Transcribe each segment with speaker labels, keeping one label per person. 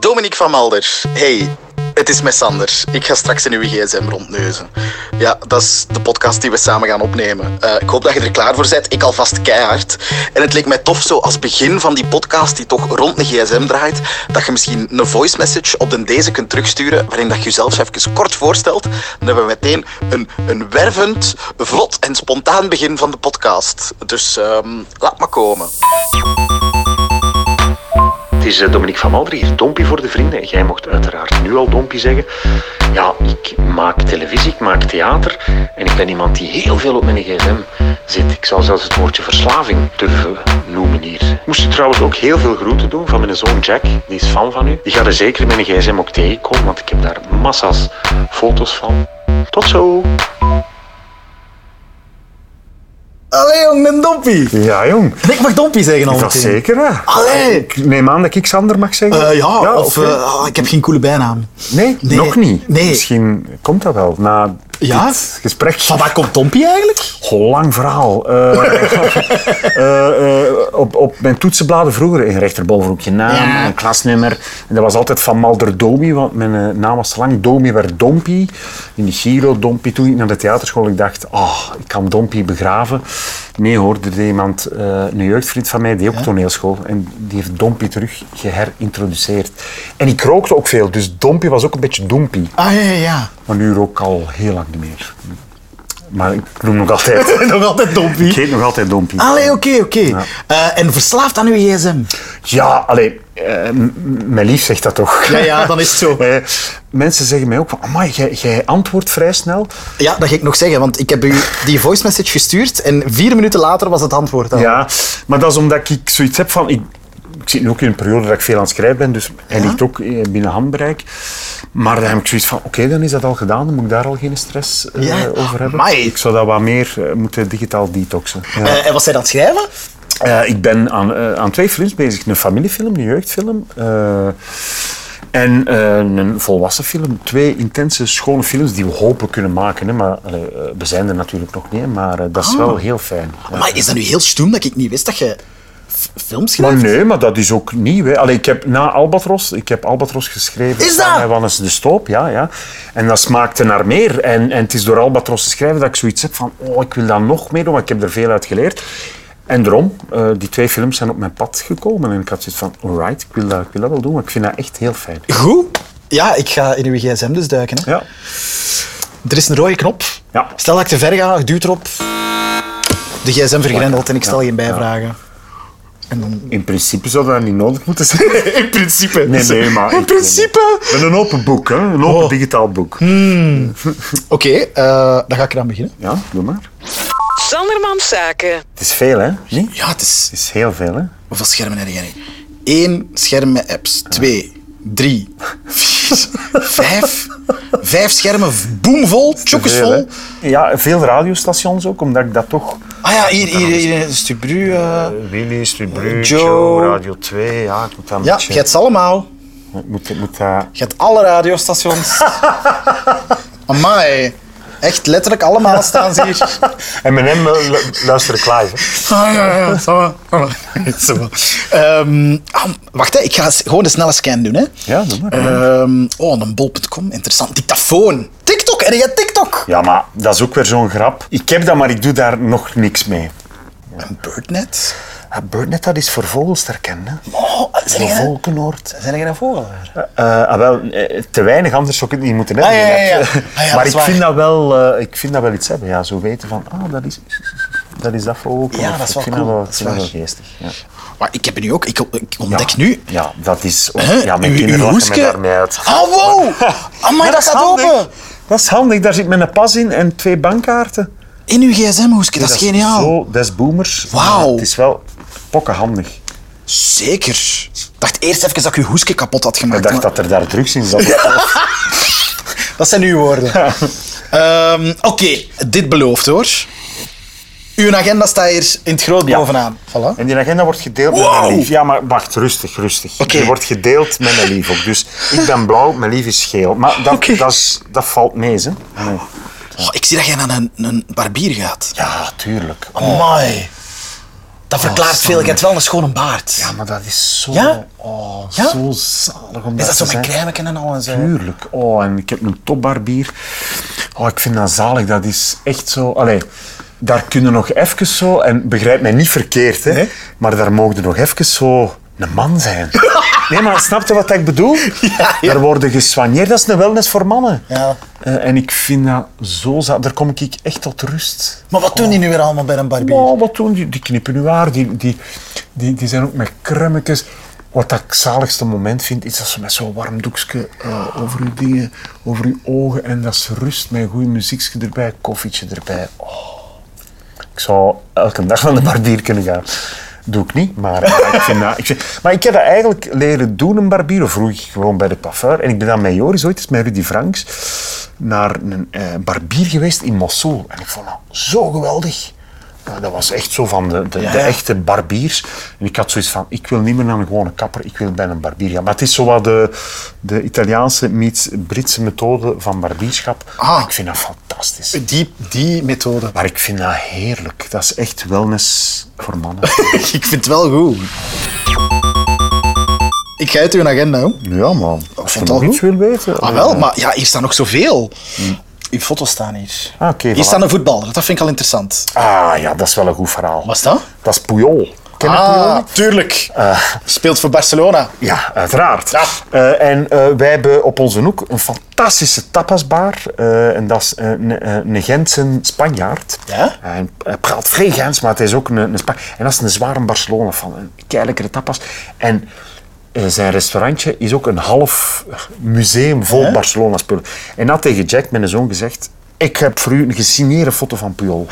Speaker 1: Dominique van Malder. Hey, het is met Sander. Ik ga straks in uw gsm rondneuzen. Ja, dat is de podcast die we samen gaan opnemen. Eh, ik hoop dat je er klaar voor bent. Ik alvast keihard. En het leek mij tof zo als begin van die podcast die toch rond een gsm draait, dat je misschien een voice message op den deze kunt terugsturen waarin dat je jezelf even kort voorstelt. Dan hebben we meteen een, een wervend, vlot en spontaan begin van de podcast. Dus ehm, laat maar komen.
Speaker 2: Het is eh, Dominique van Malder hier, Dompie voor de vrienden. Jij mocht uiteraard nu al Dompie zeggen. Ja, ik maak televisie, ik maak theater. En ik ben iemand die heel veel op mijn gsm zit. Ik zou zelfs het woordje verslaving durven noemen hier. Ik moest u trouwens ook heel veel groeten doen van mijn zoon Jack. Die is fan van u. Die gaat er zeker mijn gsm ook tegenkomen, want ik heb daar massa's foto's van. Tot zo!
Speaker 3: Allee jong, een dompie.
Speaker 4: Ja, jong.
Speaker 3: En ik mag dompie zeggen al
Speaker 4: Dat
Speaker 3: meteen.
Speaker 4: zeker, hè?
Speaker 3: Allee.
Speaker 4: Ik neem aan dat ik Sander mag zeggen.
Speaker 3: Ah. Eh, ja, of
Speaker 4: oké.
Speaker 3: eh, ah, ik heb geen coole bijnaam.
Speaker 4: nee,
Speaker 3: nee,
Speaker 4: nog niet.
Speaker 3: nee.
Speaker 4: Misschien komt dat wel na
Speaker 3: Ja?
Speaker 4: dit gesprek.
Speaker 3: Van waar komt dompie eigenlijk?
Speaker 4: Goh, lang verhaal. Eh, eh, eh, op, op mijn toetsenbladen vroeger, in rechterbovenhoek je naam,
Speaker 3: Ja.
Speaker 4: een klasnummer. En dat was altijd van Malder Domi, want mijn eh, naam was te lang. Domi werd Dompi. In de Giro Dompi. Toen ik naar de theaterschool ik dacht, ah, ik kan Dompi begraven. Nee hoor, er deed iemand, eh, een jeugdvriend van mij, die ook toneelschool. En die heeft Dompi terug geherintroduceerd. En ik rookte ook veel, dus Dompi was ook een beetje Dompi.
Speaker 3: Ah ja, ja, ja.
Speaker 4: Maar nu rook ik al heel lang niet meer. Maar ik noem nog altijd...
Speaker 3: Nog altijd
Speaker 4: Ik
Speaker 3: dompie.
Speaker 4: heet nog altijd Dompie.
Speaker 3: Allee, oh. oké, oké. Eh, en verslaafd aan uw gsm.
Speaker 4: Ja, allee, eh, m- mijn lief zegt dat toch.
Speaker 3: Ja, ja, dan is het zo.
Speaker 4: Eh, mensen zeggen mij ook van, amai, jij, jij antwoordt vrij snel.
Speaker 3: Ja, dat ga ik nog zeggen, want ik heb u die voice message gestuurd en vier minuten later was het antwoord al.
Speaker 4: Ja, maar dat is omdat ik zoiets heb van... Ik, ik zit nu ook in een periode dat ik veel aan het schrijven ben, dus hij ligt ook eh, binnen handbereik. Maar dan heb ik zoiets van, oké, dan is dat al gedaan, dan moet ik daar al geen stress eh,
Speaker 3: Ja,
Speaker 4: over hebben.
Speaker 3: amai.
Speaker 4: Ik zou dat wat meer eh, moeten digitaal detoxen. Ja.
Speaker 3: Eh, en was hij aan het schrijven?
Speaker 4: Eh, ik ben aan, eh, aan twee films bezig. Een familiefilm, een jeugdfilm. eh, en eh, een volwassen film. Twee intense, schone films die we hopen kunnen maken. Hè, maar allee, eh, we zijn er natuurlijk nog niet. hè, Maar eh, dat is wel heel fijn. Ja.
Speaker 3: Maar is dat nu heel stoem dat ik niet wist dat je f- films
Speaker 4: Maar
Speaker 3: schrijft?
Speaker 4: nee, maar dat is ook nieuw. Hè. Allee, ik heb na Albatros, ik heb Albatros geschreven.
Speaker 3: Is dat?
Speaker 4: samen met Wannes de Stoop, ja, ja. En dat smaakte naar meer. En, en het is door Albatros te schrijven dat ik zoiets heb van, oh, ik wil daar nog meer doen, want ik heb er veel uit geleerd. En daarom, eh, die twee films zijn op mijn pad gekomen. En ik had zoiets van, alright, ik wil dat, ik wil dat wel doen, want ik vind dat echt heel fijn.
Speaker 3: Goed. Ja, ik ga in uw gsm dus duiken. Hè.
Speaker 4: Ja.
Speaker 3: Er is een rode knop.
Speaker 4: Ja.
Speaker 3: Stel dat ik te ver ga, ik duw erop. De gsm vergrendelt en ik stel geen bijvragen. En dan...
Speaker 4: In principe zou dat niet nodig moeten zijn.
Speaker 3: In principe.
Speaker 4: Nee, nee, Oh. maar...
Speaker 3: In principe.
Speaker 4: Met een open boek, hè. Een open digitaal boek.
Speaker 3: Oké, eh, dan ga ik eraan beginnen.
Speaker 4: Ja, doe maar.
Speaker 5: Sandermans Zaken.
Speaker 4: Het is veel, hè? Nee?
Speaker 3: Ja, het is...
Speaker 4: Het is heel veel, hè?
Speaker 3: Hoeveel schermen heb jij nu? Eén scherm met apps. Twee, drie, vier, vijf. Vijf schermen boomvol, chockesvol.
Speaker 4: Ja, veel radiostations ook, omdat ik dat toch...
Speaker 3: Ah ja, hier, hier, hier in Stubru. eh.
Speaker 4: Willy, Stubru,
Speaker 3: Joe. Joe,
Speaker 4: Radio 2, ja, ik moet dat
Speaker 3: Ja, je hebt ze allemaal.
Speaker 4: moet, moet dat...
Speaker 3: Je hebt alle radiostations. Amai. Echt letterlijk allemaal staan ze hier.
Speaker 4: En met hem eh, lu- luister ik live. hè.
Speaker 3: Ah, ja, ja, ça va. Ça va. Ehm, ah, wacht, hè. ik ga eens- gewoon de snelle scan doen. Hè.
Speaker 4: Ja, doe maar.
Speaker 3: Ehm, oh, een bol.com, interessant. Dictafoon. TikTok, en jij TikTok?
Speaker 4: Ja, maar dat is ook weer zo'n grap. Ik heb dat, maar ik doe daar nog niks mee.
Speaker 3: Een birdnet.
Speaker 4: Ah, Birdnet, dat is voor vogels te herkennen. hè.
Speaker 3: Oh, zijn
Speaker 4: Voor
Speaker 3: jij
Speaker 4: volkenoord.
Speaker 3: zijn jij een vogelaar?
Speaker 4: Eh, ah, wel, eh, te weinig, anders zou ik het niet moeten
Speaker 3: Ah,
Speaker 4: hebben.
Speaker 3: ja, ja, ja.
Speaker 4: net.
Speaker 3: Ah, ja, dat
Speaker 4: maar
Speaker 3: is
Speaker 4: ik vind
Speaker 3: waar.
Speaker 4: dat, wel, eh, ik vind dat wel iets hebben. Ja, zo weten van, ah, dat is dat, is dat vogelkenoord.
Speaker 3: Ja, dat is wel
Speaker 4: ik vind
Speaker 3: cool.
Speaker 4: Dat wel,
Speaker 3: Dat is
Speaker 4: ik vind dat
Speaker 3: waar.
Speaker 4: wel geestig. Ja.
Speaker 3: Maar ik heb nu ook, ik, ik ontdek
Speaker 4: Ja.
Speaker 3: nu.
Speaker 4: Ja, dat is...
Speaker 3: Hè?
Speaker 4: Ja, mijn
Speaker 3: Uw-
Speaker 4: kinderen
Speaker 3: uw
Speaker 4: lachen me
Speaker 3: hoeske-
Speaker 4: daarmee uit.
Speaker 3: Ah, wow! Amai,
Speaker 4: Ja,
Speaker 3: dat gaat
Speaker 4: handig.
Speaker 3: open!
Speaker 4: Dat is handig, daar zit met een pas in en twee bankkaarten.
Speaker 3: In uw gsm-hoesje, dat is geniaal.
Speaker 4: Zo, dat is boomers.
Speaker 3: Wauw.
Speaker 4: maar Het is wel pokkenhandig.
Speaker 3: Zeker. Ik dacht eerst even dat ik uw hoesje kapot had gemaakt.
Speaker 4: Ik dacht
Speaker 3: maar-
Speaker 4: dat er daar drugs in zat.
Speaker 3: Dat zijn uw woorden. Ehm, Oké, dit belooft hoor. Uw agenda staat hier in het groot
Speaker 4: Ja.
Speaker 3: bovenaan. Voilà.
Speaker 4: En die agenda wordt gedeeld met
Speaker 3: Wow.
Speaker 4: mijn lief. Ja, maar wacht, rustig, rustig.
Speaker 3: Oké.
Speaker 4: Die wordt gedeeld met mijn lief ook. Dus ik ben blauw, mijn lief is geel. Maar dat,
Speaker 3: Oké.
Speaker 4: dat, is, dat valt mee, hè. Nee.
Speaker 3: Oh, ik zie dat jij naar een, een barbier gaat.
Speaker 4: Ja, tuurlijk.
Speaker 3: Amai.
Speaker 6: Dat verklaart veel.
Speaker 4: Sander.
Speaker 6: Ik heb wel een schone baard.
Speaker 4: Oh, Ja, maar dat is zo,
Speaker 6: Ja?
Speaker 4: oh,
Speaker 6: Ja?
Speaker 4: zo zalig om
Speaker 6: is dat
Speaker 4: te
Speaker 6: zo met
Speaker 4: zijn.
Speaker 6: crème en al en zo?
Speaker 4: Tuurlijk. Oh, en ik heb een topbarbier. Oh, ik vind dat zalig. Dat is echt zo... Allee, daar kunnen nog even zo... En begrijp mij niet verkeerd, hè.
Speaker 6: Nee?
Speaker 4: Maar daar mogen nog even zo een man zijn. Nee, maar snap je wat ik bedoel? Daar worden gesoigneerd. Dat is een wellness voor mannen.
Speaker 6: Ja.
Speaker 4: Eh, en ik vind dat zo zalig. Daar kom ik echt tot rust.
Speaker 6: Maar wat doen die nu weer allemaal bij een barbier?
Speaker 4: Oh, wat doen die? Die knippen uw haar, die, die, die, die zijn ook met krummetjes. Wat dat ik zaligste moment vind, is dat ze met zo'n warm doekje eh, over uw dingen, over uw ogen en dat ze rust met een goede muziekje erbij, koffietje erbij. Oh. Ik zou elke dag naar de barbier kunnen gaan. Doe ik niet, maar eh, ik vind dat... Ik vind- maar ik heb dat eigenlijk leren doen, een barbier, of vroeg ik gewoon bij de coiffeur. En ik ben dan met Joris ooit eens, met Rudy Franks, naar een eh, barbier geweest in Mosul. En ik vond dat zo geweldig. Nou, dat was echt zo van de, de, de echte barbiers. En ik had zoiets van, ik wil niet meer naar een gewone kapper, ik wil bij een barbier gaan. Maar het is zo wat de, de Italiaanse meets Britse methode van barbierschap.
Speaker 3: Ah.
Speaker 4: Ik vind dat fantastisch.
Speaker 3: Die, die methode.
Speaker 4: Maar ik vind dat heerlijk. Dat is echt wellness voor mannen.
Speaker 3: Ik vind het wel goed. Ik ga uit uw agenda, hoor.
Speaker 4: ja, man. Als je
Speaker 3: vond
Speaker 4: nog
Speaker 3: dat
Speaker 4: iets
Speaker 3: goed.
Speaker 4: wil weten. eh.
Speaker 3: Ah, wel, maar ja, hier staan nog zoveel. Uw foto's staan hier.
Speaker 4: Ah, oké,
Speaker 3: hier
Speaker 4: voilà.
Speaker 3: staan een voetballer, dat vind ik al interessant.
Speaker 4: Ah, ja, dat is wel een goed verhaal.
Speaker 3: Wat is dat?
Speaker 4: Dat Ah. is Puyol. Ken je
Speaker 6: Ah,
Speaker 4: Puyol? niet? Ah.
Speaker 3: tuurlijk. Speelt voor Barcelona.
Speaker 4: Ja, uiteraard.
Speaker 3: Ja.
Speaker 4: Eh, en eh, wij hebben op onze hoek een fantastische tapasbar. eh, en dat is eh, een, eh, een Gentse Spanjaard.
Speaker 3: Ja?
Speaker 4: Hij hij praat vrij Gens, maar het is ook een, een Span- En dat is een zware Barcelona van. Een keilijkere tapas. En eh, zijn restaurantje is ook een half museum vol Barcelona spullen. En dat tegen Jack, mijn zoon, gezegd... Ik heb voor u een gesigneerde foto van Puyol.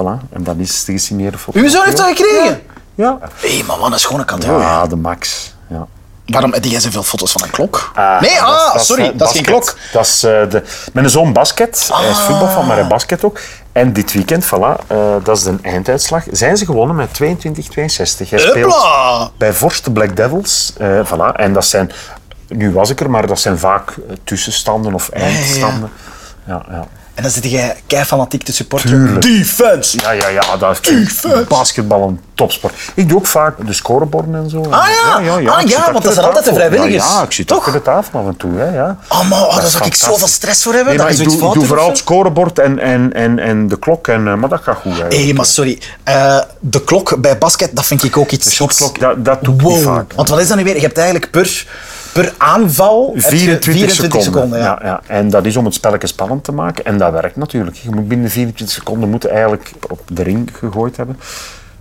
Speaker 4: Voilà, en dat is de gesigneerde foto.
Speaker 3: Uw
Speaker 4: van
Speaker 3: zoon heeft dat
Speaker 4: Puyol.
Speaker 3: gekregen?
Speaker 4: Ja.
Speaker 3: Hé, maar wat een schone cadeau. hè.
Speaker 4: Ja, de max. Ja.
Speaker 3: Waarom heb jij zoveel foto's van een klok?
Speaker 4: Ah,
Speaker 3: nee,
Speaker 4: dat is-
Speaker 3: ah,
Speaker 4: dat is,
Speaker 3: sorry,
Speaker 4: eh,
Speaker 3: dat is geen
Speaker 4: basket.
Speaker 3: klok. Ah.
Speaker 4: Dat is eh, de, mijn zoon basket. Hij is voetbalfan, maar hij basket ook. En dit weekend, voilà, eh, dat is de einduitslag. Zijn ze gewonnen met 22-62. Hij speelt
Speaker 3: Hupla!
Speaker 4: bij Vorst de Black Devils. eh, voilà. En dat zijn, nu was ik er, maar dat zijn vaak eh, tussenstanden of eindstanden. Ja, ja.
Speaker 6: En dan zit jij kei fanatiek te supporten.
Speaker 3: Defense!
Speaker 4: Ja, ja, ja, dat is basketbal een topsport. Ik doe ook vaak de scoreborden en zo.
Speaker 6: ja. Ah,
Speaker 4: Ik
Speaker 6: ja,
Speaker 4: zit
Speaker 6: want
Speaker 4: achter
Speaker 6: dat zijn
Speaker 4: de
Speaker 6: altijd de
Speaker 4: tafel. Ja,
Speaker 6: vrijwilligers.
Speaker 4: Ja, ik zit
Speaker 6: Toch?
Speaker 4: achter de tafel af en toe. Hè, ja.
Speaker 6: Oh man, oh, daar
Speaker 4: is
Speaker 6: zou ik
Speaker 4: fantastisch.
Speaker 6: zoveel stress voor hebben. dat
Speaker 4: Nee, maar
Speaker 6: je
Speaker 4: ik
Speaker 6: zoiets fout
Speaker 4: doe, doe
Speaker 6: doet of
Speaker 4: vooral het
Speaker 6: zo.
Speaker 4: scorebord en, en, en, en de klok. En, eh, maar dat gaat goed.
Speaker 6: Hé,
Speaker 4: eigenlijk.
Speaker 6: maar sorry. eh, de klok bij basket, dat vind ik ook iets... De
Speaker 4: shotklok, dat- dat doe ik niet vaak.
Speaker 6: Want wat is dat nu weer? Je hebt eigenlijk per, per aanval... heb je
Speaker 4: 24,
Speaker 6: 24 seconden, ja.
Speaker 4: ja. Ja, En dat is om het spelletje spannend te maken. En dat werkt natuurlijk. Je moet binnen 24 seconden moeten eigenlijk op de ring gegooid hebben.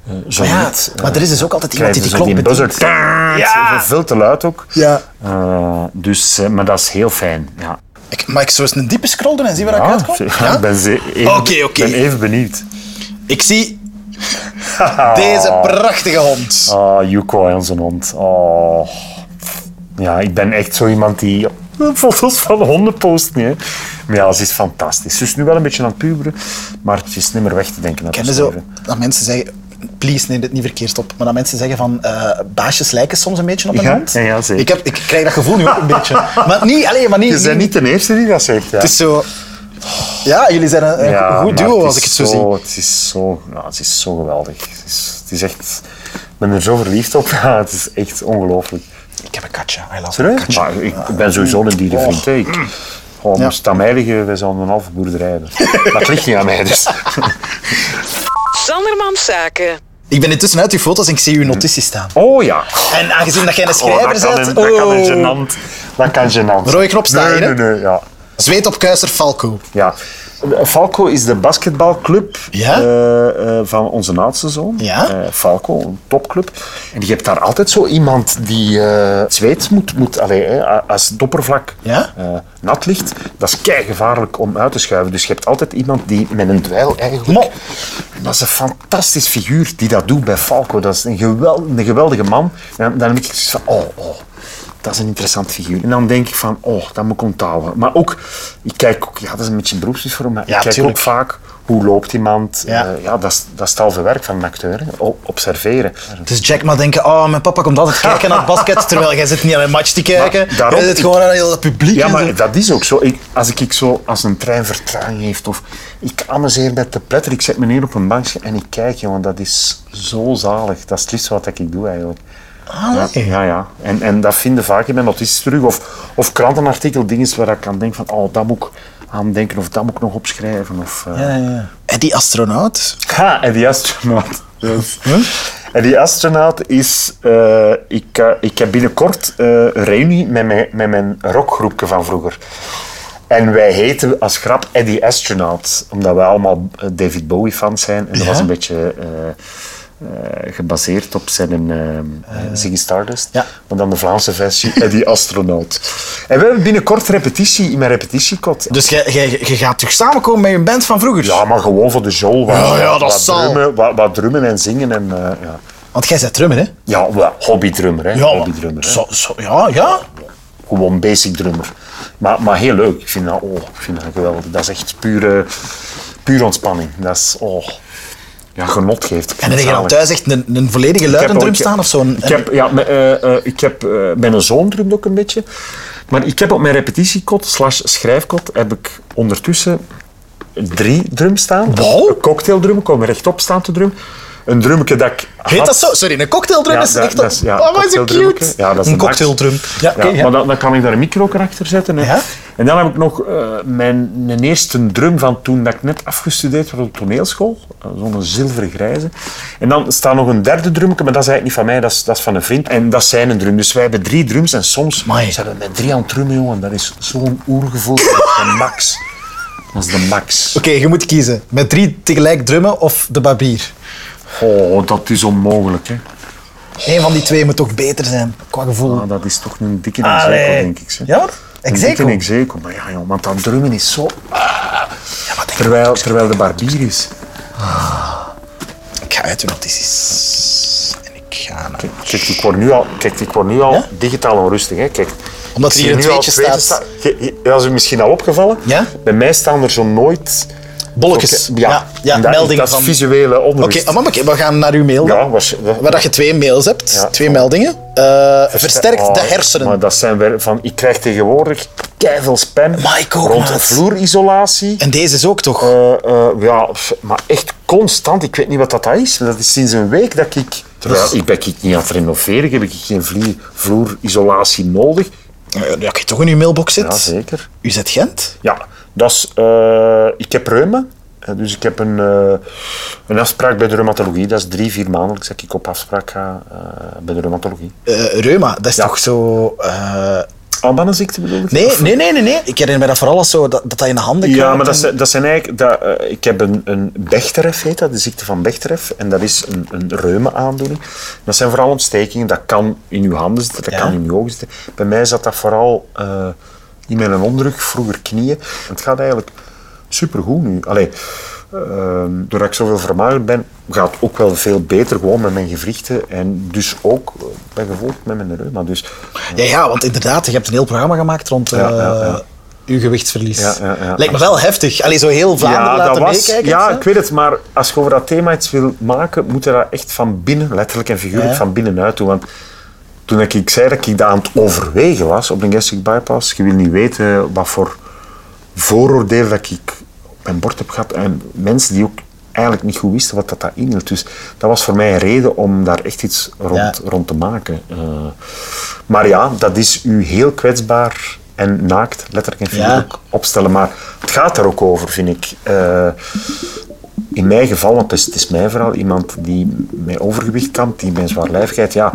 Speaker 4: Eh, zo
Speaker 6: Maar ja,
Speaker 4: niet, eh,
Speaker 6: maar er is dus ook altijd iemand die die
Speaker 4: krijgen ze
Speaker 6: klok
Speaker 4: zo die buzzer. Ja. Veel te luid ook.
Speaker 6: Ja.
Speaker 4: Eh, dus, eh, maar dat is heel fijn. Ja.
Speaker 3: Ik, mag ik zo eens een diepe scroll doen en zien waar ik
Speaker 4: Ah,
Speaker 3: uitkom?
Speaker 4: ja, Ik ben, ze- even,
Speaker 3: Oké, oké.
Speaker 4: ben even benieuwd.
Speaker 3: Ik zie deze prachtige hond.
Speaker 4: Ah, Yuko en zijn hond. Oh. Ja, ik ben echt zo iemand die foto's van honden post niet. Hè. Maar ja, ze is fantastisch. Ze is nu wel een beetje aan het puberen, maar het is niet meer weg te denken. uit
Speaker 3: Ken je
Speaker 4: ons
Speaker 3: zo
Speaker 4: leven.
Speaker 3: dat mensen zeggen... Please, neem dit niet verkeerd op. Maar dat mensen zeggen van... eh, baasjes lijken soms een beetje op een
Speaker 4: Ja,
Speaker 3: hond.
Speaker 4: ja, ja, zeker.
Speaker 3: Ik, heb, ik krijg dat gevoel nu ook een beetje. Maar niet... Alleen, maar niet,
Speaker 4: Je bent niet de eerste die dat zegt. Ja.
Speaker 3: Het is zo... Ja, jullie zijn een, een
Speaker 4: Ja,
Speaker 3: goed
Speaker 4: maar
Speaker 3: duo,
Speaker 4: het
Speaker 3: als
Speaker 4: is
Speaker 3: ik het zo, zie.
Speaker 4: Het is zo, nou, het is zo geweldig. Het is, het is echt... Ik ben er zo verliefd op. Ja, het is echt ongelooflijk.
Speaker 3: Ik heb een katje. I love
Speaker 4: Serieus?
Speaker 3: katje.
Speaker 4: Maar ik ben sowieso een dierenvriend. hè. Ik, gewoon, moest het aan mij liggen, wij zouden een halve boerderij hebben. Maar het ligt niet aan mij, dus...
Speaker 5: Sanderman Zaken.
Speaker 3: Ik ben intussen uit uw foto's en ik zie uw notitie staan.
Speaker 4: Oh ja.
Speaker 3: En aangezien dat jij een
Speaker 4: Oh,
Speaker 3: schrijver
Speaker 4: dat, kan
Speaker 3: bent...
Speaker 4: een, dat kan een
Speaker 3: oh.
Speaker 4: gênant. Dat kan gênant.
Speaker 3: Rode knop staan
Speaker 4: nee,
Speaker 3: hier, hè?
Speaker 4: Nee, nee, ja.
Speaker 3: Zweet op kuister Falco.
Speaker 4: ja. Falco is de basketbalclub
Speaker 3: Ja?
Speaker 4: eh, eh, van onze oudste zoon.
Speaker 3: Ja?
Speaker 4: Eh, Falco, een topclub. En je hebt daar altijd zo iemand die eh zweet moet, moet allee, hè, a- als het oppervlak
Speaker 3: Ja?
Speaker 4: eh, nat ligt. Dat is kei gevaarlijk om uit te schuiven. Dus je hebt altijd iemand die met een dweil eigenlijk. En Dat is een fantastisch figuur die dat doet bij Falco. Dat is een, gewel- een geweldige man. En dan heb ik zoiets van, oh, oh, dat is een interessant figuur. En dan denk ik van, oh, dat moet ik onthouden. Maar ook, ik kijk ook, ja, dat is een beetje beroepsmisvorm, maar
Speaker 3: Ja,
Speaker 4: ik kijk
Speaker 3: tuurlijk.
Speaker 4: ook vaak Hoe loopt iemand?
Speaker 6: Ja.
Speaker 4: Ja, eh, ja dat, is, dat is het halve werk van een acteur. hè. O- Observeren.
Speaker 6: Dus Jack maar denken, oh, mijn papa komt altijd kijken naar het basket, terwijl jij zit niet aan een match te kijken.
Speaker 4: Maar daarom-
Speaker 6: jij zit gewoon aan heel het publiek.
Speaker 4: Ja,
Speaker 6: en zo.
Speaker 4: maar dat is ook zo. Ik- als ik, ik zo, als een trein vertraging heeft of ik amuseer met de pletter, ik zet me neer op een bankje en ik kijk, jongen, dat is zo zalig. Dat is het liefste wat ik doe eigenlijk. ja,
Speaker 6: Ah, nee.
Speaker 4: ja, ja. En, en dat vinden vaak in mijn notities terug. Of, of krantenartikel, dingen waar ik aan denk van, oh, dat moet ik aan denken of dat moet ik nog opschrijven. Of, eh,
Speaker 6: Ja, ja.
Speaker 3: En die astronaut?
Speaker 4: Ha, en die astronaut. Dus. En die astronaut is... eh, ik, eh, ik heb binnenkort eh, een reunie met mijn, met mijn rockgroepje van vroeger. En wij heten als grap Eddie Astronaut, omdat wij allemaal eh, David Bowie-fans zijn. En dat was een beetje eh, eh, gebaseerd op zijn eh, Ziggy Stardust,
Speaker 6: Ja.
Speaker 4: maar dan de Vlaamse versie Eddie Astronaut. En we hebben binnenkort repetitie in mijn repetitiekot.
Speaker 3: Dus jij- jij jij gaat terug samenkomen met je band van vroeger?
Speaker 4: Ja, maar gewoon voor de show. Wat,
Speaker 3: Ja, ja, dat
Speaker 4: wat
Speaker 3: zal.
Speaker 4: drummen, wat, wat drummen en zingen. En, eh, ja,
Speaker 6: Want jij bent drummer, hè?
Speaker 4: ja wel, hobbydrummer. Hè.
Speaker 3: maar-
Speaker 4: hobbydrummer hè.
Speaker 3: Zo, zo, ja, ja.
Speaker 4: Gewoon basic drummer. Maar, maar heel leuk. Ik vind, dat, oh, ik vind dat geweldig. Dat is echt pure, pure ontspanning. Dat is... Oh, ja, genot geeft.
Speaker 3: En
Speaker 4: Ik vind
Speaker 3: dan
Speaker 4: het
Speaker 3: heb je dan
Speaker 4: zalig.
Speaker 3: thuis echt een, een volledige
Speaker 4: Ik heb
Speaker 3: luidendrum
Speaker 4: ook-
Speaker 3: drum staan of zo?
Speaker 4: Ik heb, ja, mijn, eh, eh, ik heb eh, mijn zoon drumt ook een beetje. Maar ik heb op mijn repetitiekot slash schrijfkot heb ik ondertussen drie drums saan.
Speaker 3: Wow.
Speaker 4: Een cocktaildrum, ik kom rechtop staan te drummen. Een drumke dat ik
Speaker 3: Heet
Speaker 4: had-
Speaker 3: dat zo? Sorry, een cocktaildrum
Speaker 4: Ja,
Speaker 3: is
Speaker 4: dat-
Speaker 3: echt...
Speaker 4: dat is- ja,
Speaker 3: oh, wat is dat
Speaker 4: cocktaildrumke.
Speaker 3: cute.
Speaker 4: Ja, dat is
Speaker 3: een
Speaker 4: de max.
Speaker 3: cocktaildrum. Ja, oké,
Speaker 4: Ja,
Speaker 3: ja.
Speaker 4: Maar dan, dan kan ik daar een micro ook achter zetten. Hè.
Speaker 3: Ja.
Speaker 4: En dan heb ik nog eh, mijn, mijn eerste drum van toen dat ik net afgestudeerd werd op toneelschool. Eh, Zo'n zilveren grijze. En dan staat nog een derde drumke, maar dat is eigenlijk niet van mij, dat is, dat is van een vriend. En dat is zijn een drum. Dus wij hebben drie drums en soms
Speaker 3: Amai.
Speaker 4: zijn we met drie aan het drummen, jongen. Dat is zo'n oergevoel. Dat is de max. Dat is de max.
Speaker 3: Oké, je moet kiezen. Met drie tegelijk drummen of de barbier?
Speaker 4: Oh, dat is onmogelijk, hè.
Speaker 3: Eén van die twee moet toch beter zijn, qua gevoel.
Speaker 4: Ah, dat is toch een dikke execo,
Speaker 3: Allee.
Speaker 4: denk ik. zeg.
Speaker 3: Ja, hoor.
Speaker 4: Een
Speaker 3: Execo.
Speaker 4: dikke execo. Maar ja, joh, want dat drummen is zo... Ah. terwijl, terwijl de barbier is.
Speaker 3: Ik ga uit de notities. En ik ga naar...
Speaker 4: Kijk, ik word nu al, kijk, ik word nu al
Speaker 3: Ja?
Speaker 4: digitaal onrustig. Hè. Kijk,
Speaker 3: Omdat
Speaker 4: ik
Speaker 3: er
Speaker 4: zie
Speaker 3: hier een
Speaker 4: nu al
Speaker 3: tweetje
Speaker 4: tweetjes
Speaker 3: staat.
Speaker 4: staan. Je- je- Dat is u misschien al opgevallen.
Speaker 3: Ja?
Speaker 4: Bij mij staan er zo nooit...
Speaker 3: Bolletjes.
Speaker 4: Oké, Ja,
Speaker 3: Ja, ja,
Speaker 4: En dat,
Speaker 3: meldingen
Speaker 4: dat is
Speaker 3: van-
Speaker 4: visuele
Speaker 3: Oké,
Speaker 4: onrust.
Speaker 3: ah, maar oké, we gaan naar uw mail. dan.
Speaker 4: ja, was,
Speaker 3: Waar dat je twee mails hebt,
Speaker 4: Ja.
Speaker 3: twee meldingen. Eh, versterkt
Speaker 4: Oh,
Speaker 3: de hersenen.
Speaker 4: Maar dat zijn weer van... Ik krijg tegenwoordig keiveel spam
Speaker 3: Maar ik ook,
Speaker 4: rond
Speaker 3: maat.
Speaker 4: vloerisolatie.
Speaker 3: En deze is ook toch?
Speaker 4: Eh, eh, ja, pff, maar echt constant. Ik weet niet wat dat is. Dat is sinds een week dat ik... Terwijl ik ben ik niet aan het renoveren. Heb ik geen vlie- vloerisolatie nodig?
Speaker 3: Ja, dat je toch in uw mailbox zit?
Speaker 4: Jazeker.
Speaker 3: U zit Gent?
Speaker 4: Ja, dat is... eh, ik heb reuma. Eh, Dus ik heb een, eh, een afspraak bij de reumatologie. Dat is drie, vier maandelijks dat ik op afspraak ga eh, bij de reumatologie.
Speaker 3: Eh, reuma, dat is
Speaker 4: Ja.
Speaker 3: toch zo... eh,
Speaker 4: Albanenziekte bedoel ik?
Speaker 3: Nee, nee, nee, nee, nee. Ik herinner me dat vooral als zo, dat, dat dat in de handen
Speaker 4: Ja,
Speaker 3: kruipt
Speaker 4: maar dat,
Speaker 3: en-
Speaker 4: zijn- dat zijn eigenlijk... Dat, eh, ik heb een, een Bechtereff, heet dat, de ziekte van Bechtereff. En dat is een, een reuma-aandoening. Dat zijn vooral ontstekingen. Dat kan in uw handen zitten, dat
Speaker 3: Ja.
Speaker 4: kan in uw ogen zitten. Bij mij zat dat vooral eh, in mijn onderrug, vroeger knieën. Het gaat eigenlijk supergoed nu. Allee, ehm, doordat ik zoveel vermagerd ben, gaat het ook wel veel beter gewoon met mijn gewrichten. En dus ook eh, bij gevolg met mijn reuma. Dus,
Speaker 3: Ja, ja, want inderdaad, je hebt een heel programma gemaakt rond eh
Speaker 4: Ja, ja, ja.
Speaker 3: uw gewichtsverlies.
Speaker 4: Ja, ja, ja.
Speaker 3: Lijkt me wel heftig. Allee, zo heel Vlaanderen laten meekijken.
Speaker 4: Ja,
Speaker 3: zo.
Speaker 4: ik weet het, maar als je over dat thema iets wil maken, moet je dat echt van binnen, letterlijk en figuurlijk,
Speaker 3: Ja.
Speaker 4: van binnenuit doen. Want toen ik- ik zei dat ik dat aan het overwegen was op de gastric bypass, je wil niet weten wat voor vooroordeel dat ik op mijn bord heb gehad en mensen die ook eigenlijk niet goed wisten wat dat, dat inhield. Dus dat was voor mij een reden om daar echt iets rond,
Speaker 3: Ja.
Speaker 4: rond te maken. Eh, maar ja, dat is u heel kwetsbaar en naakt, letterlijk en figuurlijk, opstellen. Maar het gaat er ook over, vind ik. Eh, in mijn geval, want het is, het is mijn verhaal, iemand die met overgewicht kampt, die met zwaarlijvigheid, ja,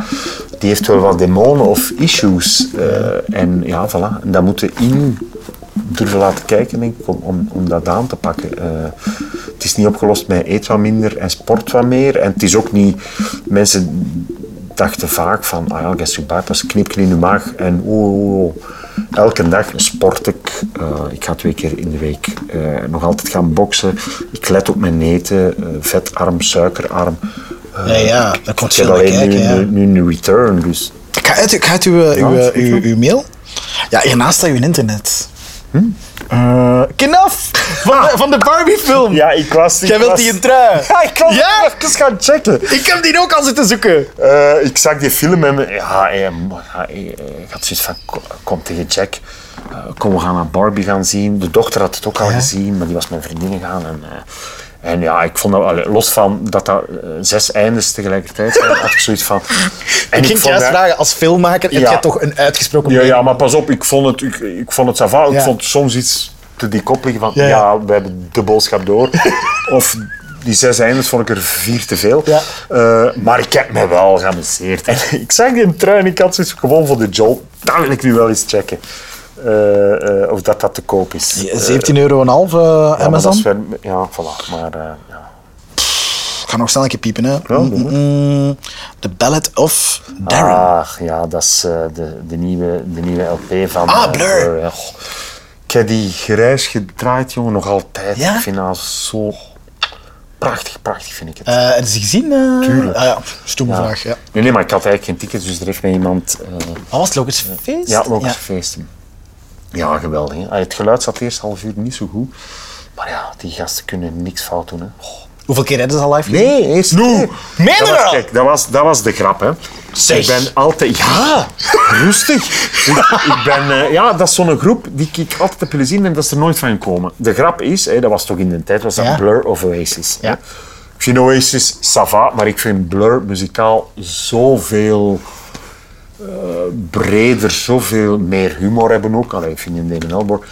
Speaker 4: die heeft wel wat demonen of issues. Eh, en ja, voilà. En dat moeten in durven laten kijken, denk ik, om, om, om dat aan te pakken. Eh, het is niet opgelost met eet wat minder en sport wat meer. En het is ook niet... Mensen dachten vaak van, ah ja, gastric bypass, knipje in de maag en oh, oeh, oeh, oeh. Elke dag sport ik. Eh, ik ga twee keer in de week eh, nog altijd gaan boksen. Ik let op mijn eten, eh, vetarm, suikerarm. Eh,
Speaker 3: Ja, ja, daar komt
Speaker 4: ik heb
Speaker 3: veel bij
Speaker 4: alleen
Speaker 3: kijken.
Speaker 4: nu,
Speaker 3: ja.
Speaker 4: nu, nu een return, dus
Speaker 3: Ik ga uit, ik ga uit uw, uw,
Speaker 4: is goed,
Speaker 3: uw, uw mail. Ja, hiernaast staat uw internet. Eh, Knaf! Van de, van de Barbie-film.
Speaker 4: Ja, ik was... Ik
Speaker 3: Jij wilt
Speaker 4: was-
Speaker 3: die een trui.
Speaker 4: Ja, ik was
Speaker 3: Ja?
Speaker 4: even gaan checken.
Speaker 3: Ik heb die ook al zitten zoeken.
Speaker 4: Eh, ik zag die film en ja, eh, ja, eh, ik had zoiets van, ko- kom tegen Jack, eh, kom we gaan naar Barbie gaan zien. De dochter had het ook al gezien, maar die was met vriendinnen gaan. En, eh, en ja, ik vond dat, allee, los van dat dat eh, zes eindes tegelijkertijd zijn, had ik zoiets van... En
Speaker 3: Ik ging
Speaker 4: vond
Speaker 3: juist
Speaker 4: dat-
Speaker 3: vragen, als filmmaker heb
Speaker 4: Ja.
Speaker 3: jij toch een uitgesproken
Speaker 4: Ja,
Speaker 3: mening?
Speaker 4: ja, maar pas op, ik vond het, ik, ik vond het sava. Ik
Speaker 3: Ja.
Speaker 4: vond soms iets te dik op liggen van, ja,
Speaker 3: Ja, ja.
Speaker 4: we hebben de boodschap door. of die zes eindes vond ik er vier te veel.
Speaker 3: Ja.
Speaker 4: Eh, maar ik heb me wel geamuseerd. En ik zag die trui en ik had zoiets gewoon voor de job. Dat wil ik nu wel eens checken. Eh, eh, of dat dat te koop is. Eh,
Speaker 3: 17 euro en half, eh,
Speaker 4: ja, maar dat
Speaker 3: Amazon.
Speaker 4: is weer- ja, voilà. Maar, eh, ja.
Speaker 3: Ik ga nog snel een keer piepen, hè.
Speaker 4: doe maar.
Speaker 3: Mm-mm-mm. The Ballad of Darren.
Speaker 4: Ah, ja, dat is eh, de, de, nieuwe, de nieuwe LP van...
Speaker 3: Ah,
Speaker 4: eh,
Speaker 3: Blur.
Speaker 4: ja, goh. ik heb die grijs gedraaid, jongen, nog altijd.
Speaker 3: Ja?
Speaker 4: Ik vind dat zo... Prachtig, prachtig vind ik het.
Speaker 3: Eh, hebben ze die gezien? eh?
Speaker 4: Tuurlijk.
Speaker 3: Ah, ja, stomme vraag, ja.
Speaker 4: Nee, nee, maar ik had eigenlijk geen tickets, dus er heeft mij iemand... eh,
Speaker 3: Wat was het, Loki's Feest?
Speaker 4: ja, ook ja. feesten. Ja, geweldig. hè. Ah, Het geluid zat de eerste half uur niet zo goed. Maar ja, die gasten kunnen niks fout doen, hè. Goh.
Speaker 3: Hoeveel keer hebben ze al live
Speaker 4: Nee, eerst nee.
Speaker 3: meen
Speaker 4: dat
Speaker 3: je
Speaker 4: was,
Speaker 3: dat?
Speaker 4: Kijk, dat was, dat was de grap, hè.
Speaker 3: Zeg.
Speaker 4: Ik ben
Speaker 3: Ah!
Speaker 4: altijd... Ja, rustig. ik, ik ben... eh, ja, dat is zo'n groep die ik altijd heb willen zien en dat is er nooit van gekomen. De grap is, hè, dat was toch in de tijd, was dat
Speaker 3: Ja.
Speaker 4: Blur of Oasis. hè.
Speaker 3: Ja.
Speaker 4: Ik vind Oasis sava, maar ik vind Blur muzikaal zoveel breder, zoveel meer humor hebben ook. Allee, ik vind in Damon Elborg.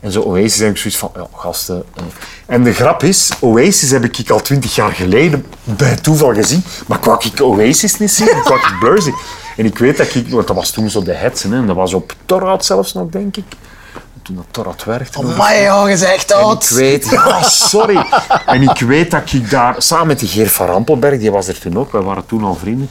Speaker 4: En zo Oasis heb ik zoiets van, ja, gasten. eh. En de grap is, Oasis heb ik al twintig jaar geleden bij toeval gezien. Maar kwam ik Oasis niet zien, kwam ik Blur zien. En ik weet dat ik, want dat was toen zo de hetsen, hè, en dat was op Torhout zelfs nog, denk ik. Toen dat Torhout werkte. nog.
Speaker 3: Maar joh, je zegt
Speaker 4: Ik
Speaker 3: dat.
Speaker 4: weet, ja, Oh, sorry. En ik weet dat ik daar, samen met die Geer van Rampelberg, die was er toen ook, wij waren toen al vrienden.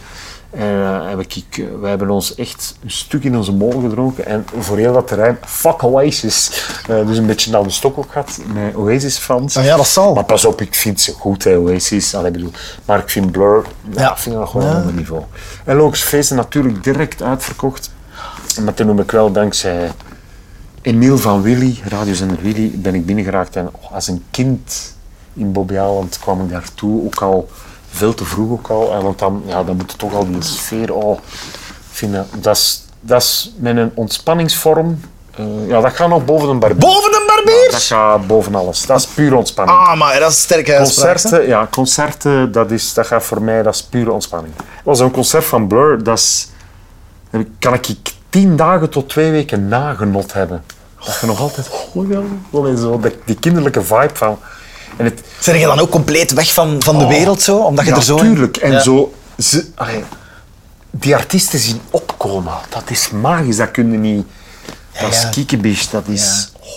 Speaker 4: En eh, heb ik, ik, eh, wij hebben ons echt een stuk in onze mol gedronken. En voor heel dat terrein, fuck Oasis. Eh, dus een beetje naar de stok ook gehad, met Oasis-fans.
Speaker 3: Ah ja, dat zal.
Speaker 4: Maar pas op, ik vind ze goed, hè, Oasis. Allee, bedoel, maar ik vind Blur, ja,
Speaker 3: Ja.
Speaker 4: ik vind dat gewoon een ander niveau. En Lokes Feesten natuurlijk direct uitverkocht. Maar toen noem ik wel dankzij Emiel van Willy, radiozender Willy, ben ik binnengeraakt. En oh, als een kind in Bobbejaanland kwam ik daartoe, ook al veel te vroeg ook al. En want dan, ja, dan moet je toch al die sfeer al vinden. Dat is, dat is met een ontspanningsvorm. Eh, ja, dat gaat nog boven een barbier.
Speaker 3: Boven een
Speaker 4: Ja,
Speaker 3: barbier?
Speaker 4: dat gaat boven alles. Dat is puur ontspanning.
Speaker 3: Ah, maar dat is een sterke uitspraak. hè.
Speaker 4: Concerten, ja, concerten, dat, is, dat gaat voor mij, dat is pure ontspanning. was een concert van Blur, dat is, kan ik tien dagen tot twee weken nagenot hebben. Dat je nog altijd, oh ja, wel eens zo, die, die kinderlijke vibe van. En het,
Speaker 3: Zijn je dan ook compleet weg van, van de wereld zo? Omdat je
Speaker 4: Oh. ja,
Speaker 3: er zo... in-
Speaker 4: tuurlijk. En
Speaker 3: Ja.
Speaker 4: zo, ze, allee, die artiesten zien opkomen, dat is magisch, dat kun je niet. Dat is
Speaker 3: ja.
Speaker 4: kiekenbisch, dat is. oh,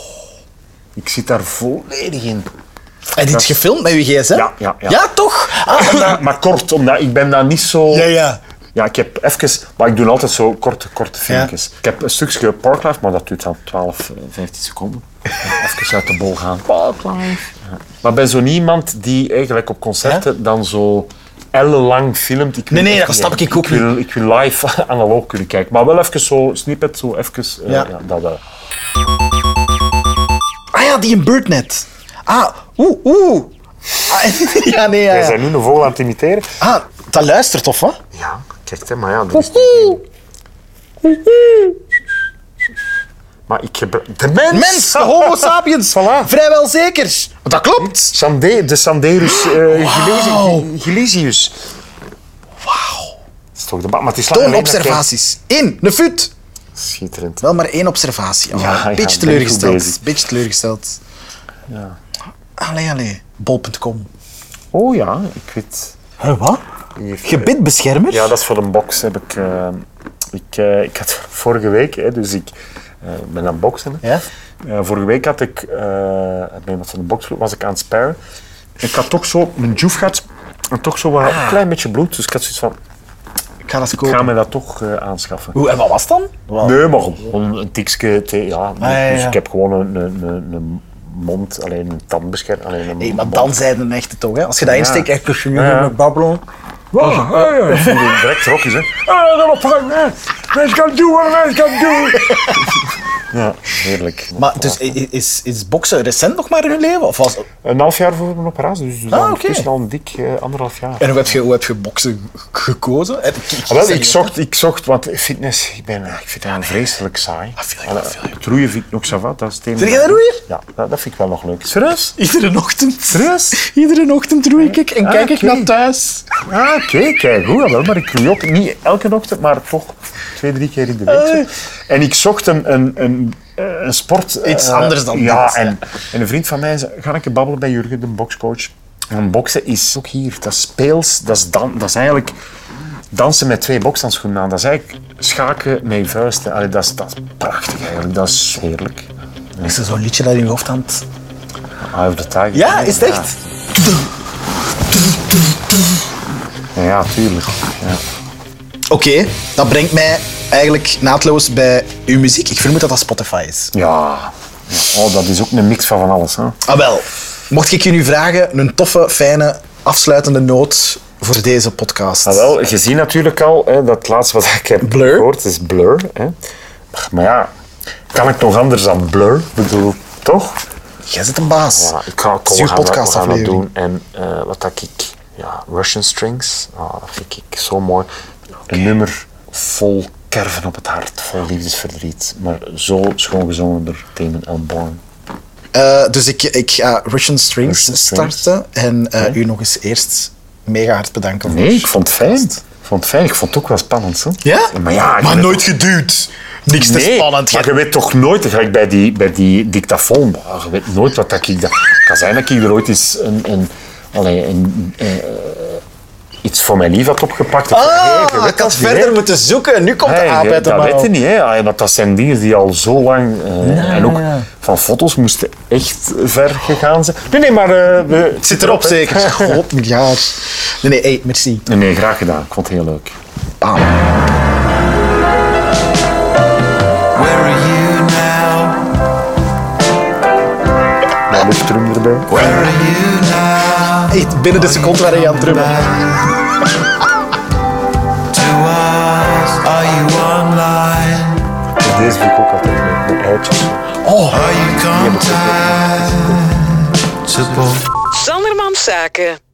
Speaker 4: ik zit daar volledig in.
Speaker 3: Heb je dit gefilmd met je gsm?
Speaker 4: Ja, ja, ja.
Speaker 3: toch? Ah,
Speaker 4: Omdat- maar kort, omdat ik ben daar niet zo...
Speaker 3: Ja, ja.
Speaker 4: Ja, ik heb even... Maar ik doe altijd zo korte, korte filmpjes. Ik heb een stukje Parklife, maar dat duurt dan 12, eh, 15 seconden. even uit de bol gaan. Parklife. Ja. Maar ben zo niemand die eigenlijk op concerten dan zo ellenlang filmt. Ik wil
Speaker 3: nee,
Speaker 4: echt
Speaker 3: dat
Speaker 4: niet,
Speaker 3: snap ik ook
Speaker 4: wil, ik wil live analoog kunnen kijken. Maar wel even zo snippet, zo even... eh,
Speaker 3: Ja.
Speaker 4: ja, dat, eh.
Speaker 3: ah ja, die in Birdnet. Ah, oeh, oeh. Ah, ja, nee, ja,
Speaker 4: Wij
Speaker 3: ja.
Speaker 4: zijn nu een vogel aan het imiteren.
Speaker 3: Ah, dat luistert of wat?
Speaker 4: Ja, kijk, hè, maar ja, dat is... Maar ik gebruik... De mens!
Speaker 3: Mens, de homo sapiens.
Speaker 4: Voilà.
Speaker 3: Vrijwel zeker. Dat klopt.
Speaker 4: Sande, de Sanderus eh Gilesi- Gilesius. Wauw. Dat is toch de ba- maar het is lang
Speaker 3: Toon
Speaker 4: geleden Ah, dat ik-
Speaker 3: observaties. In, een fut.
Speaker 4: Schitterend.
Speaker 3: Wel maar één observatie. Oh,
Speaker 4: Ja, ja, ben
Speaker 3: beetje
Speaker 4: goed bezig.
Speaker 3: teleurgesteld. Beetje teleurgesteld. Allee, allee. Bol.com.
Speaker 4: Oh ja, ik weet...
Speaker 3: Hé, wat? Gebitbeschermer?
Speaker 4: eh, Ja, dat is voor een box heb ik... eh, ik, eh, ik had vorige week, hè, dus ik eh, ben aan het boksen. hè.
Speaker 3: Ja?
Speaker 4: Eh, vorige week had ik, eh bij iemand van de boxclub was ik aan het sparen. Ik had toch zo, mijn joef gaat en toch zo wat, een klein beetje bloed. Dus ik had zoiets van,
Speaker 3: Ik ga dat
Speaker 4: ik
Speaker 3: kopen.
Speaker 4: ga me Oh, dat toch eh, aanschaffen.
Speaker 3: Hoe, en wat was het dan?
Speaker 4: Nee, maar gewoon een tikje thee, ja.
Speaker 3: ja,
Speaker 4: Dus
Speaker 3: ja.
Speaker 4: ik heb gewoon een, een, een, een mond, alleen een tandbescherm. Alleen een
Speaker 3: Nee, maar
Speaker 4: mond.
Speaker 3: dan zijn het echte toch, hè? Als je dat insteekt, echt kusje
Speaker 4: Ja.
Speaker 3: met babbelen.
Speaker 4: Wow, ja, ja. Ik voel direct rokjes, hè. Ah, dat ophangen, hè. Let's go do what let's go do. Ja, heerlijk.
Speaker 3: Maar dus
Speaker 4: Oh,
Speaker 3: i- i- is, is boksen recent nog maar in je leven? Of was...
Speaker 4: Een half jaar voor mijn operatie, dus dan
Speaker 3: oké.
Speaker 4: intussen al een dik eh, anderhalf jaar.
Speaker 3: En hoe heb je, hoe heb je boksen g- gekozen? Heb ik,
Speaker 4: Ah, wel, ik zocht, ik zocht, want fitness, ik, ben, eh, ik vind dat vreselijk saai.
Speaker 3: veel,
Speaker 4: Allee,
Speaker 3: veel.
Speaker 4: Het roeien vind ik nog zo wat, dat is het enige.
Speaker 3: Vind jij dat roeien?
Speaker 4: Ja, dat, dat vind ik wel nog leuk. Serieus?
Speaker 3: Iedere ochtend.
Speaker 4: Serieus?
Speaker 3: Iedere ochtend roei ik en
Speaker 4: Ah,
Speaker 3: kijk ik
Speaker 4: oké.
Speaker 3: naar thuis.
Speaker 4: Ah, oké, kijk, goed, wel, maar ik roei ook niet elke ochtend, maar toch twee, drie keer in de week. zo. En ik zocht een, een, een, eh, een sport...
Speaker 3: Eh. Iets
Speaker 4: eh,
Speaker 3: anders dan
Speaker 4: ja,
Speaker 3: dit,
Speaker 4: En, en een vriend van mij zei, ga ik een babbelen bij Jurgen, de boxcoach. Want boksen is ook hier, dat is speels, dat is, dan, dat is eigenlijk dansen met twee bokshandschoenen aan. Dat is eigenlijk schaken met je vuisten. Allee, dat, is, dat is prachtig eigenlijk, dat is heerlijk.
Speaker 3: Is er zo'n liedje dat in je hoofd aan het-
Speaker 4: Eye of the tiger.
Speaker 3: Ja, is het echt?
Speaker 4: Ja, ja, tuurlijk. Ja.
Speaker 3: Oké, dat brengt mij eigenlijk naadloos bij uw muziek. Ik vermoed dat dat Spotify is.
Speaker 4: Ja. Oh, dat is ook een mix van van alles. Hè?
Speaker 3: Ah wel, mocht ik je nu vragen een toffe, fijne, afsluitende noot voor deze podcast.
Speaker 4: Ah, wel, je ziet natuurlijk al, hè, dat laatste wat ik heb
Speaker 3: Blur.
Speaker 4: gehoord is Blur. Hè. Maar ja, kan ik nog anders dan Blur? Ik bedoel, toch?
Speaker 3: Jij zit een baas.
Speaker 4: Ja, ik ga
Speaker 3: is
Speaker 4: komen
Speaker 3: uw
Speaker 4: gaan, we- we gaan dat
Speaker 3: podcastaflevering.
Speaker 4: doen. En eh, wat dat ik, ja, Russian Strings, ah, dat vind ik zo mooi. Een nummer vol kerven op het hart, vol liefdesverdriet. Maar zo schoon gezongen door Damon Elborn.
Speaker 3: Eh, dus ik, ik ga Russian Strings
Speaker 4: Russian Strings.
Speaker 3: starten en eh, u nog eens eerst mega hard bedanken. voor-
Speaker 4: Nee, ik vond het fijn. Ik vond het fijn. Ik vond het ook wel spannend. Hè?
Speaker 3: Ja?
Speaker 4: Maar ja, ik
Speaker 3: maar
Speaker 4: weet-
Speaker 3: nooit geduwd. Niks te
Speaker 4: Nee,
Speaker 3: spannend.
Speaker 4: Maar je weet toch nooit, gelijk bij die, bij die dictafoon, ah, je weet nooit wat dat ik... Dat, kan zijn dat ik er ooit eens een... een, allee, een eh, iets voor mijn lief had opgepakt.
Speaker 3: Ah,
Speaker 4: Nee, je weet
Speaker 3: ik had
Speaker 4: dat niet,
Speaker 3: verder
Speaker 4: hè.
Speaker 3: moeten zoeken. Nu komt de
Speaker 4: Nee,
Speaker 3: aap
Speaker 4: je-
Speaker 3: uit de
Speaker 4: dat weet
Speaker 3: mouw.
Speaker 4: je niet, hè. Ah, ja, want dat zijn dingen die al zo lang... eh, en ook van foto's moesten echt ver gegaan zijn. Nee, nee, maar... eh, we- het
Speaker 3: Zit erop
Speaker 4: hè.
Speaker 3: zeker. God, miljard. Nee, nee, hey, merci.
Speaker 4: Nee, nee, graag gedaan. Ik vond het heel leuk.
Speaker 7: Where are you now?
Speaker 4: Mijn luchtrum erbij.
Speaker 7: Where are you now?
Speaker 3: Echt, binnen de seconde waren je aan het drummen.
Speaker 7: To us, are you online?
Speaker 4: Deze vind ik ook altijd leuk. Met eitjes.
Speaker 7: Are you contactable?
Speaker 5: Sanderman Zaken.